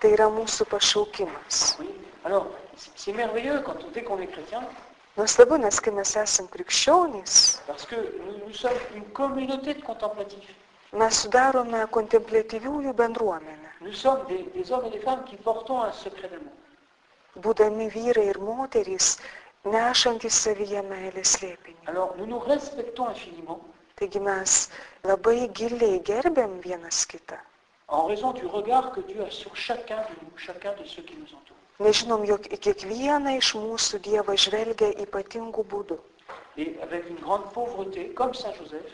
Speaker 2: tai yra mūsų pašaukimas.
Speaker 3: Oui. Alors, c'est c'est merveilleux quand on, dès qu'on est chrétien,
Speaker 2: Nuostabu, nes kai mes esame krikščionys,
Speaker 3: parce que nous, nous sommes une communauté de contemplatifs.
Speaker 2: mes sudarome kontemplatyviųjų bendruomenę.
Speaker 3: Nous sommes des, des hommes et des femmes qui portons un secret d'amour.
Speaker 2: Būdami vyrai ir moterys, nešantys savyje meilės slėpinį.
Speaker 3: Alors, nous nous respectons infiniment
Speaker 2: Taigi mes labai giliai gerbėm vienas kitą.
Speaker 3: en raison du regard que Dieu a sur chacun de nous, chacun de ceux qui nous entourent.
Speaker 2: Nežinom, jog į kiekvieną iš mūsų Dievas žvelgia ypatingų būdų.
Speaker 3: Et avec une grande pauvreté, comme Saint Joseph,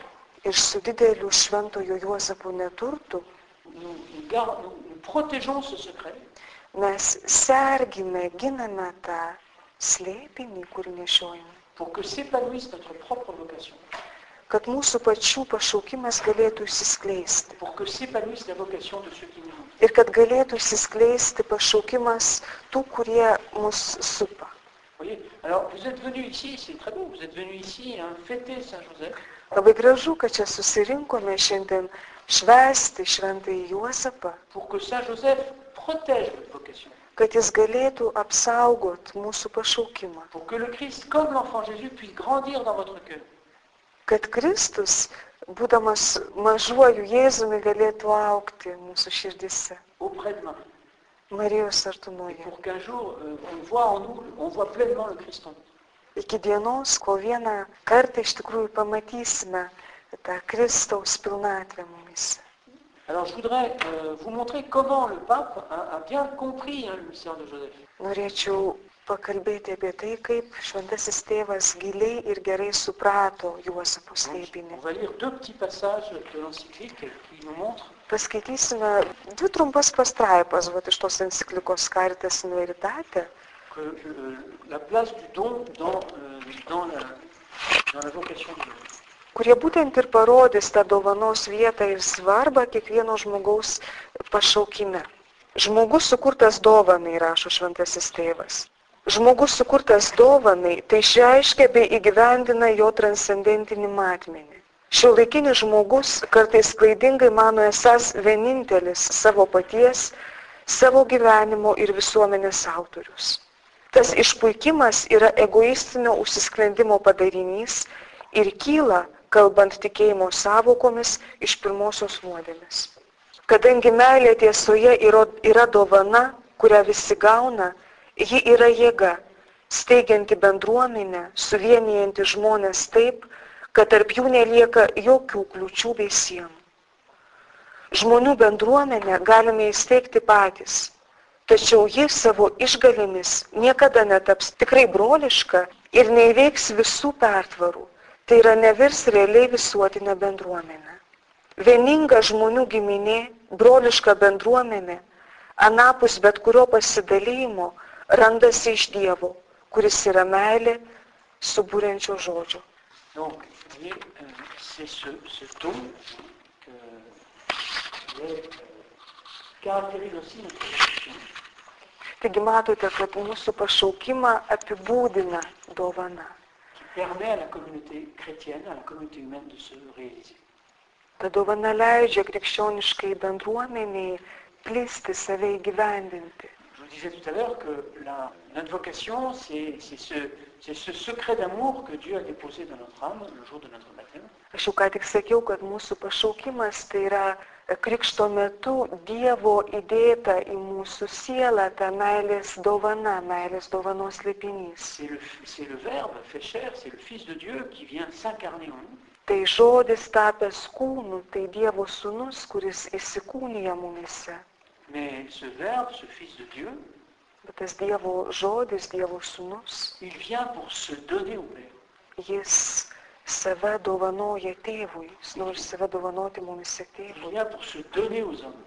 Speaker 2: ir su dideliu šventojo Juozapu neturtu
Speaker 3: nous, nous gar- nous- nous protégeons ce secret
Speaker 2: mes sergime, giname tą slėpinį, kurį nešiojame,
Speaker 3: pour que s'épanouisse notre propre vocation,
Speaker 2: kad mūsų pačių pašaukimas galėtų išsiskleisti
Speaker 3: pour que s'épanouisse la vocation de ceux qui nous entourent.
Speaker 2: ir kad galėtų išsiskleisti pašaukimas tų, kurie mus supa.
Speaker 3: Vous voyez Alors, vous êtes venus ici, c'est très beau, vous êtes venus ici hein, fêter Saint Joseph.
Speaker 2: Labai gražu, kad čia susirinkome šiandien švesti šventąjį Juozapą,
Speaker 3: pour que Saint Joseph protège votre vocation,
Speaker 2: kad jis galėtų apsaugot mūsų pašaukimą,
Speaker 3: pour que le Christ, comme l'enfant Jésus, puisse grandir dans votre cœur.
Speaker 2: kad Kristus, būdamas mažuoju Jėzumi, galėtų aukti mūsų širdise.
Speaker 3: auprès de Marie.
Speaker 2: Marijos
Speaker 3: Et
Speaker 2: artumoje.
Speaker 3: pour qu'un jour, euh, on voit en nous, on voit pleinement le Christ en nous.
Speaker 2: Iki dienos, kol vieną kartą iš tikrųjų pamatysime tą Kristaus pilnatvę mumis.
Speaker 3: Alors je voudrais euh, vous montrer comment le pape a, a bien compris hein, le mystère de Joseph.
Speaker 2: Norėčiau pakalbėti apie tai, kaip šventasis tėvas giliai ir gerai suprato Juozapo
Speaker 3: On
Speaker 2: slėpinį.
Speaker 3: va lire deux petits passages de l'encyclique qui nous montrent
Speaker 2: Paskaitysime dvi trumpas pastraipas vat, iš tos enciklikos kartės nueritate,
Speaker 3: que euh, la place du don dans, euh, dans la, dans la vocation de Joseph.
Speaker 2: kurie būtent ir parodys tą dovanos vietą ir svarbą kiekvieno žmogaus pašaukime. Žmogus sukurtas dovanai, rašo šventasis tėvas. Žmogus sukurtas dovanai, tai išreiškia bei įgyvendina jo transcendentinį matmenį. Šio laikinis žmogus kartais klaidingai mano esas vienintelis savo paties savo gyvenimo ir visuomenės autorius. Tas išpuikimas yra egoistinio užsisklendimo padarinys ir kyla, kalbant tikėjimo savokomis, iš pirmosios nuodėmės. Kadangi meilė tiesoje yra, yra dovana, kurią visi gauna, ji yra jėga, steigianti bendruomenę, suvienijanti žmonės taip, kad tarp jų nelieka jokių kliučių bei sienų. Žmonių bendruomenę galime įsteigti patys, tačiau ji savo išgalėmis niekada netaps tikrai broliška ir neįveiks visų pertvarų, tai yra nevirs realiai visuotinę bendruomenę. Vieninga žmonių giminė, broliška bendruomenė, anapus bet kurio pasidalymo randasi iš Dievo, kuris yra meilė subūrenčio žodžio.
Speaker 3: Donc, vous voyez, euh, c'est ce, ce don que- qui est, euh, caractérise aussi notre relation.
Speaker 2: Taigi matote, kad mūsų pašaukimą apibūdina dovana.
Speaker 3: qui permet à la communauté chrétienne, à la communauté humaine de se réaliser.
Speaker 2: Ta dovana leidžia krikščioniškai bendruomeniai plisti, save įgyvendinti.
Speaker 3: Je vous disais tout à l'heure que la- l'invocation, c'est c'est ce, c'est ce secret d'amour que Dieu a déposé dans notre âme le jour de notre baptême.
Speaker 2: Aš jau ką tik sakiau, kad mūsų pašaukimas tai yra krikšto metu Dievo įdėta į mūsų sielą ta meilės dovana, meilės dovanos lipinys.
Speaker 3: C'est le, c'est le Verbe fait chair, c'est le Fils de Dieu qui vient s'incarner en nous.
Speaker 2: Tai žodis tapęs kūnu, tai Dievo sūnus, kuris įsikūnija mumise.
Speaker 3: Mais ce Verbe, ce Fils de Dieu,
Speaker 2: Bet tas Dievo žodis, Dievo sūnus,
Speaker 3: il vient pour se donner au Père.
Speaker 2: jis save dovanoja tėvui, jis nori save dovanoti mumise
Speaker 3: Il
Speaker 2: tėvui.
Speaker 3: vient pour se donner aux hommes.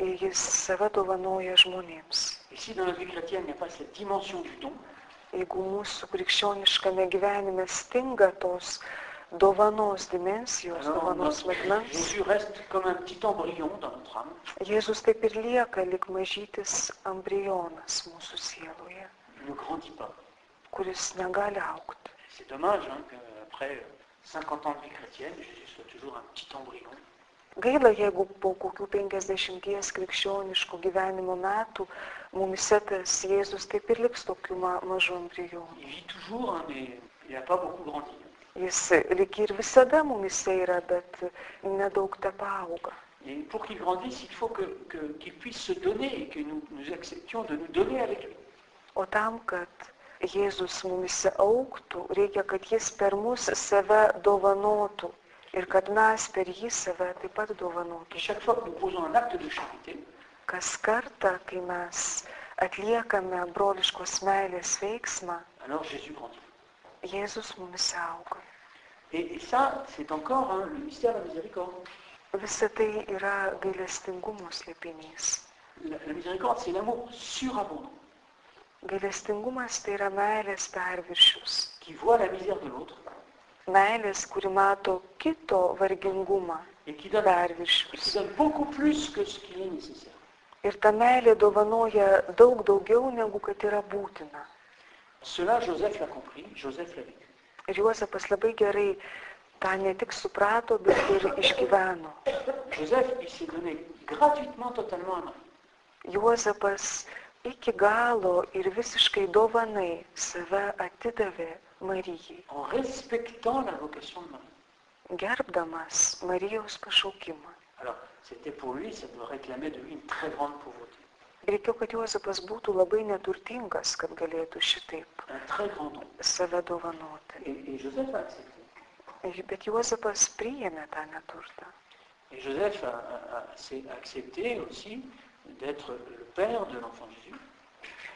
Speaker 2: Ir jis save dovanoja žmonėms.
Speaker 3: Et si dans la vie chrétienne, il n'y a pas cette dimension du don,
Speaker 2: Jeigu mūsų krikščioniškame gyvenime stinga tos dovanos dimensijos,
Speaker 3: alors
Speaker 2: dovanos
Speaker 3: notre
Speaker 2: matmens,
Speaker 3: Jésus reste comme un petit embryon dans notre âme.
Speaker 2: Jėzus taip ir lieka lik mažytis embrionas mūsų sieloje,
Speaker 3: Il ne grandit pas.
Speaker 2: kuris negali aukti.
Speaker 3: C'est dommage hein, qu'après 50 ans de vie chrétienne, Jésus soit toujours un petit embryon.
Speaker 2: Gaila, jeigu po kokių penkisdešimties krikščioniškų gyvenimo metų mumise tas Jėzus taip ir liks tokiu ma mažu embrionu.
Speaker 3: Il vit toujours, hein, mais il n'a pas beaucoup grandi.
Speaker 2: Jis lyg ir visada mumise yra, bet nedaug te paauga.
Speaker 3: Et pour qu'il grandisse, il faut que- que- qu'il puisse se donner et que nous, nous acceptions de nous donner avec lui.
Speaker 2: O tam, kad Jėzus mumise auktų, reikia, kad jis per mus save dovanotų ir kad mes per jį save taip pat
Speaker 3: Et
Speaker 2: dovanotų.
Speaker 3: chaque fois que nous posons un acte de charité,
Speaker 2: Kas kartą, kai mes atliekame broliškos meilės veiksmą,
Speaker 3: alors Jésus grandit.
Speaker 2: Jėzus mumis auga.
Speaker 3: Et, et ça, c'est encore hein, le mystère de la miséricorde.
Speaker 2: Visa tai yra gailestingumo slėpinys.
Speaker 3: La, la miséricorde, c'est l'amour surabondant
Speaker 2: Gailestingumas tai yra meilės perviršius.
Speaker 3: qui voit la misère de l'autre
Speaker 2: Meilės, kuri mato kito vargingumą,
Speaker 3: et qui donne, et
Speaker 2: perviršius.
Speaker 3: qui donne beaucoup plus que ce qui est nécessaire.
Speaker 2: Ir ta meilė dovanoja daug daugiau, negu kad yra būtina.
Speaker 3: Cela, Joseph l'a compris, Joseph l'a vécu.
Speaker 2: Ir Juozapas labai gerai tą ne tik suprato, bet ir išgyveno.
Speaker 3: Joseph, il s'est donné gratuitement, totalement à Marie.
Speaker 2: Juozapas iki galo ir visiškai dovanai save atidavė Marijai,
Speaker 3: en respectant la vocation de Marie.
Speaker 2: gerbdamas Marijos pašaukimą.
Speaker 3: Alors, c'était pour lui, ça doit réclamer de lui une très grande pauvreté,
Speaker 2: Reikėjo, kad Juozapas būtų labai neturtingas, kad galėtų šitaip
Speaker 3: un très grand don.
Speaker 2: save dovanoti.
Speaker 3: Et, et Joseph a accepté.
Speaker 2: Ir- Bet Juozapas priėmė tą neturtą.
Speaker 3: Et Joseph a, a- a- s'est accepté aussi d'être le père de l'enfant Jésus.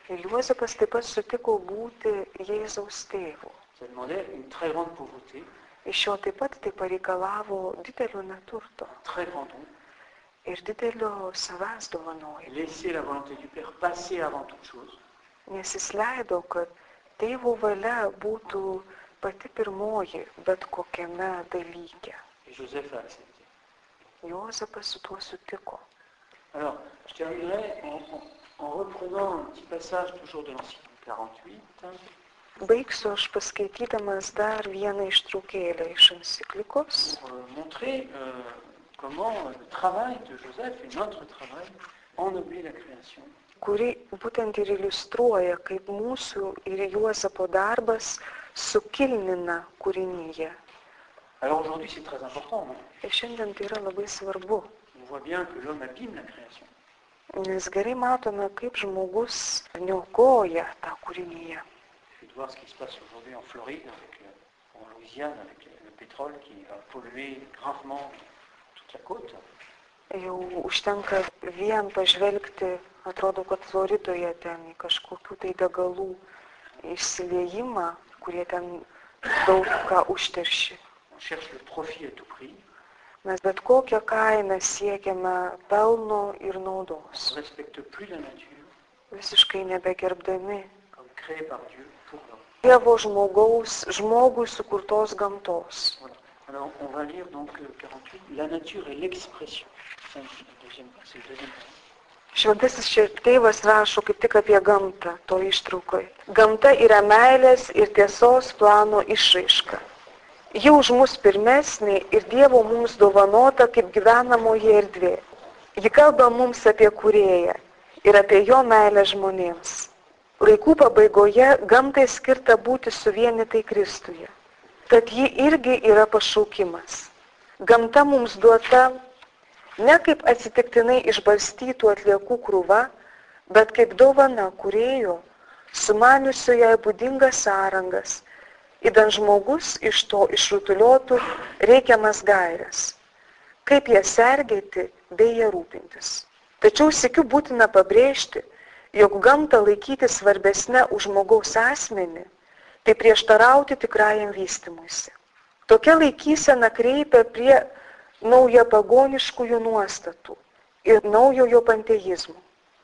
Speaker 2: Ir Juozapas taip pat sutiko būti Jėzaus tėvu.
Speaker 3: Ça demandait une très grande pauvreté,
Speaker 2: Iš jo taip pat tai pareikalavo didelio neturto
Speaker 3: un très grand don.
Speaker 2: ir didelio savęs dovanojimo,
Speaker 3: Laisser la volonté du Père passer avant toute chose.
Speaker 2: nes jis leido, kad tėvo valia būtų pati pirmoji bet kokiame dalyke.
Speaker 3: Et Joseph a accepté.
Speaker 2: Juozapas su tuo sutiko.
Speaker 3: Alors, je terminerai en, en- en reprenant un petit passage toujours de l'Ancien 48. hein.
Speaker 2: Baigsiu aš paskaitydamas dar vieną ištraukėlę iš enciklikos,
Speaker 3: pour euh, montrer euh, comment euh, le travail de Joseph et notre travail ennoblit la création.
Speaker 2: kuri būtent ir iliustruoja, kaip mūsų ir Juozapo darbas sukilnina kūrinyje.
Speaker 3: Alors aujourd'hui, c'est très important. hein.
Speaker 2: Ir šiandien tai yra labai svarbu,
Speaker 3: On voit bien que l'homme abîme la création.
Speaker 2: nes gerai matome, kaip žmogus niokoja tą kūrinyje.
Speaker 3: Il suffit de voir ce qui se passe aujourd'hui en Floride, avec, euh, en Louisiane, avec le, le pétrole qui va polluer gravement toute la côte.
Speaker 2: Jau užtenka vien pažvelgti, atrodo, kad Floridoje ten į kažkokių tai degalų išsiliejimą, kurie ten daug ką užterši.
Speaker 3: On cherche le profit à tout prix.
Speaker 2: Mes bet kokią kainą siekiame pelno ir naudos,
Speaker 3: On ne respecte plus la nature
Speaker 2: visiškai nebegerbdami
Speaker 3: comme créée par Dieu pour l'homme.
Speaker 2: Dievo žmogaus, žmogui sukurtos gamtos.
Speaker 3: Voilà. Alors on va lire donc euh, 48. La nature et l'expression. C'est le deuxième c'est le deuxième point.
Speaker 2: Šventasis čia tėvas rašo kaip tik apie gamtą, to ištraukoje. Gamta yra meilės ir tiesos plano išraiška. Ji už mus pirmesnė ir Dievo mums dovanota kaip gyvenamoji erdvė. Ji kalba mums apie kurėją ir apie jo meilę žmonėms. Laikų pabaigoje gamtai skirta būti suvienytai Kristuje. Tad ji irgi yra pašaukimas. Gamta mums duota ne kaip atsitiktinai išbarstytų atliekų krūva, bet kaip dovana kurėjo, sumaniusio jai būdingas sąrangas, įdant žmogus iš to išrutuliotų reikiamas gairias, kaip ją sergėti bei ją rūpintis. Tačiau sėkiu būtina pabrėžti, jog gamtą laikyti svarbesnę už žmogaus asmenį, tai prieštarauti tikrajam vystimuisi. Tokia laikysena kreipia prie nauja pagoniškųjų nuostatų ir naujojo panteizmo.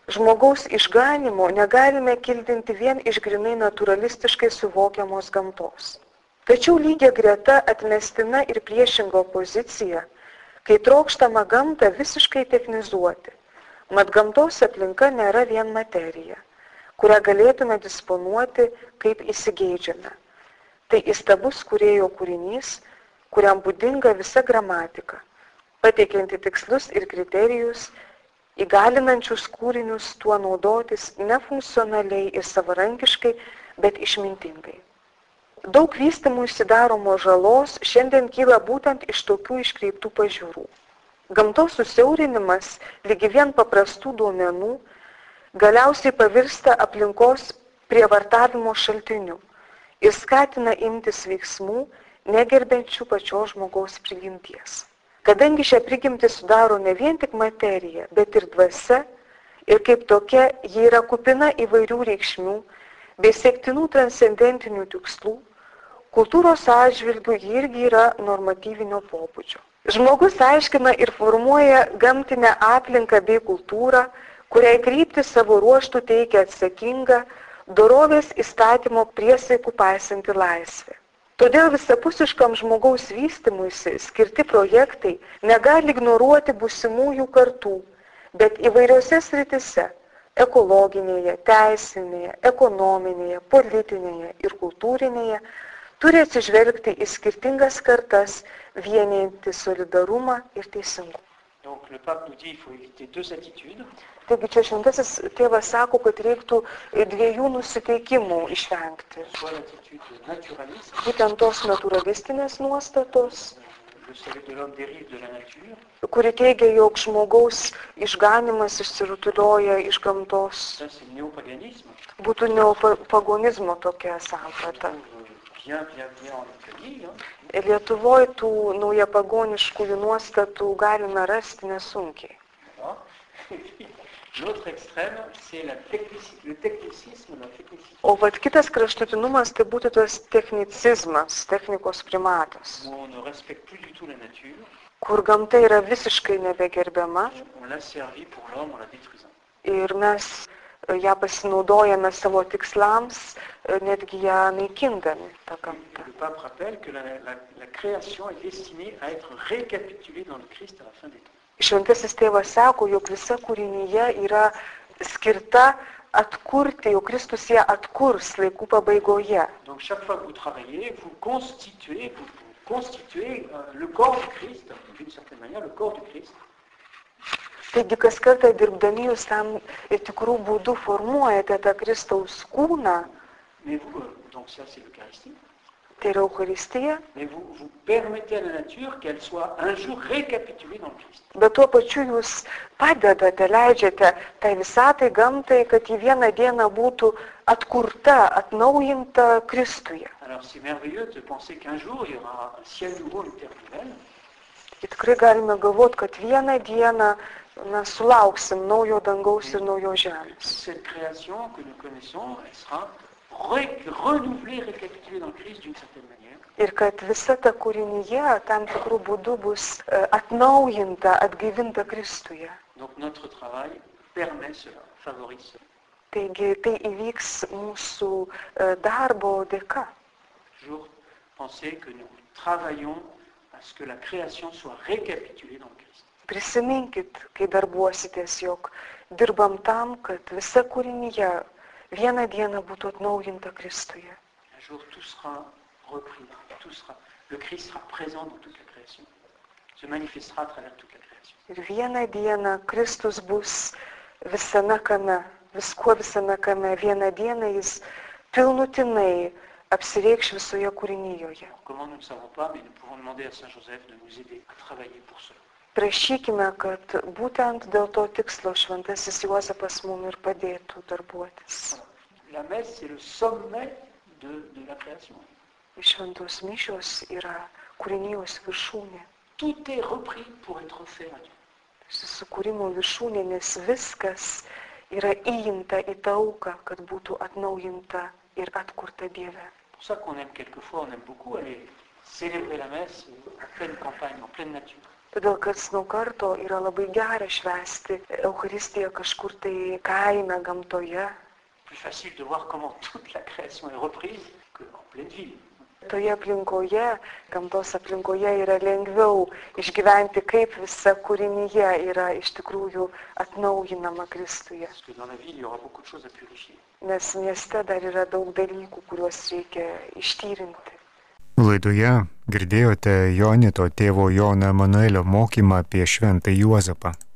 Speaker 2: Žmogaus išganimo negalime kildinti vien iš grinai naturalistiškai suvokiamos gamtos. Tačiau lygia greta atmestina ir priešinga pozicija, kai trokštama gamtą visiškai technizuoti. Mat gamtos aplinka nėra vien materija, kurią galėtume disponuoti kaip įsigeidžiame. Tai įstabus kurėjo kūrinys, kuriam būdinga visa gramatika, pateikianti tikslus ir kriterijus, įgalinančius kūrinius tuo naudotis ne funkcionaliai ir savarankiškai, bet išmintingai. Daug vystimų įsidaromo žalos šiandien kyla būtent iš tokių iškreiptų pažiūrų. Gamtos susiaurinimas, lygi vien paprastų duomenų, galiausiai pavirsta aplinkos prievartavimo šaltiniu ir skatina imtis veiksmų, negerbiančių pačios žmogaus prigimties. Kadangi šią prigimtį sudaro ne vien tik materija, bet ir dvasia, ir kaip tokia ji yra kupina įvairių reikšmių bei siektinų transcendentinių tikslų, kultūros atžvilgių ji irgi yra normatyvinio pobūdžio. Žmogus aiškina ir formuoja gamtinę aplinką bei kultūrą, kuriai krypti savo ruoštų teikia atsakinga, dorovės įstatymo priesaikų paisanti laisvė. Todėl visapusiškam žmogaus vystimuisi skirti projektai negali ignoruoti būsimųjų kartų, bet įvairiose sritise - ekologinėje, teisinėje, ekonominėje, politinėje ir kultūrinėje - turi atsižvelgti į skirtingas kartas, vieninti solidarumą ir teisingumą.
Speaker 3: Donc le pape nous dit qu'il faut éviter deux attitudes.
Speaker 2: Taigi čia šventasis tėvas sako, kad reiktų dviejų nusiteikimų išvengti.
Speaker 3: Soit l'attitude naturaliste, euh,
Speaker 2: Būtent tos naturalistinės nuostatos,
Speaker 3: le salut de l'homme dérive de la nature,
Speaker 2: kuri teigia, jog žmogaus išganimas išsirutulioja iš gamtos,
Speaker 3: ça c'est le néopaganisme.
Speaker 2: būtų neopagonizmo tokia
Speaker 3: Je
Speaker 2: samprata.
Speaker 3: trouve euh, bien, bien, bien en Italie. hein.
Speaker 2: Lietuvoje tų naujapagoniškųjų nuostatų galime rasti nesunkiai.
Speaker 3: Voilà. [LAUGHS] Et puis, L'autre extrême, c'est la technici- le technicisme, la technicité,
Speaker 2: O vad kitas kraštutinumas tai būtų tas technicizmas, technikos primatas,
Speaker 3: où on ne respecte plus du tout la nature,
Speaker 2: kur gamta yra visiškai nebegerbiama
Speaker 3: on l'a servie pour l'homme en la détruisant.
Speaker 2: ir mes e, ją pasinaudojame savo tikslams, e, netgi ją naikindami tą gamtą.
Speaker 3: Le pape rappelle que la, la- la création est destinée à être récapitulée dans le Christ à la fin des temps.
Speaker 2: Šventasis tėvas sako, jog visa kūrinyje yra skirta atkurti, jog Kristus ją atkurs laikų pabaigoje.
Speaker 3: Donc chaque fois que vous travaillez, vous constituez, vous, vous constituez euh, le corps du Christ, d'une certaine manière, le corps du Christ.
Speaker 2: Taigi kas kartą dirbdami jūs tam ir tikrų būdų formuojate tą Kristaus kūną,
Speaker 3: Mais vous, euh, donc ça c'est l'Eucharistie,
Speaker 2: tai yra Eucharistija,
Speaker 3: mais vous, vous permettez à la nature qu'elle soit un jour récapitulée dans le Christ.
Speaker 2: bet tuo pačiu jūs padedate, leidžiate tai visatai gamtai, kad į vieną dieną būtų atkurta, atnaujinta Kristuje.
Speaker 3: Alors c'est merveilleux de penser qu'un jour il y aura un ciel nouveau, une terre nouvelle,
Speaker 2: Ir tikrai galime galvoti, kad vieną dieną na, sulauksim naujo dangaus ir naujo žemės.
Speaker 3: cette création que nous connaissons, elle sera ré- renouvelée, récapitulée dans le Christ d'une certaine manière.
Speaker 2: Ir kad visa ta kūrinyje tam tikrų būdų bus e, atnaujinta, atgaivinta Kristuje.
Speaker 3: Donc notre travail permet cela, favorise cela.
Speaker 2: Taigi tai įvyks mūsų e, darbo dėka.
Speaker 3: Toujours penser que nous travaillons à ce que la création soit récapitulée dans le Christ.
Speaker 2: Prisiminkit, kai darbuositės, jog dirbam tam, kad visa kūrinyje vieną dieną būtų atnaujinta Kristuje.
Speaker 3: Un jour tout sera repris, tout sera, le Christ sera présent dans toute la création, se manifestera à travers toute la création.
Speaker 2: Ir vieną dieną Kristus bus visame kame, viskuo visame kame. Vieną dieną jis pilnutinai apsireikš visoje kūrinyje.
Speaker 3: Alors, comment nous ne savons pas, mais nous pouvons demander à Saint Joseph de nous aider à travailler pour cela.
Speaker 2: Prašykime, kad būtent dėl to tikslo šventasis Juozapas mums ir padėtų darbuotis.
Speaker 3: La messe, c'est le sommet de, de la création.
Speaker 2: Šventos mišios yra kūrinijos viršūnė,
Speaker 3: Tout est repris pour être fait à Dieu.
Speaker 2: susikūrimo viršūnė, nes viskas yra įimta į tauką, kad būtų atnaujinta ir atkurta Dieve.
Speaker 3: C'est pour ça qu'on aime quelquefois, on aime beaucoup aller célébrer la messe en pleine campagne, en pleine nature.
Speaker 2: Todėl, kad nuo karto yra labai gera švęsti Eucharistiją kažkur tai kaime, gamtoje,
Speaker 3: Plus facile de voir comment toute la création est reprise qu'en pleine ville.
Speaker 2: Toje aplinkoje, gamtos aplinkoje yra lengviau išgyventi, kaip visa kūrinyje yra iš tikrųjų atnaujinama Kristuje.
Speaker 3: Parce que dans la ville, il y aura beaucoup de choses à purifier.
Speaker 2: Nes mieste dar yra daug dalykų, kuriuos reikia ištyrinti.
Speaker 1: Laidoje girdėjote Jonito tėvo Jono Emanuelio mokymą apie Šventą Juozapą.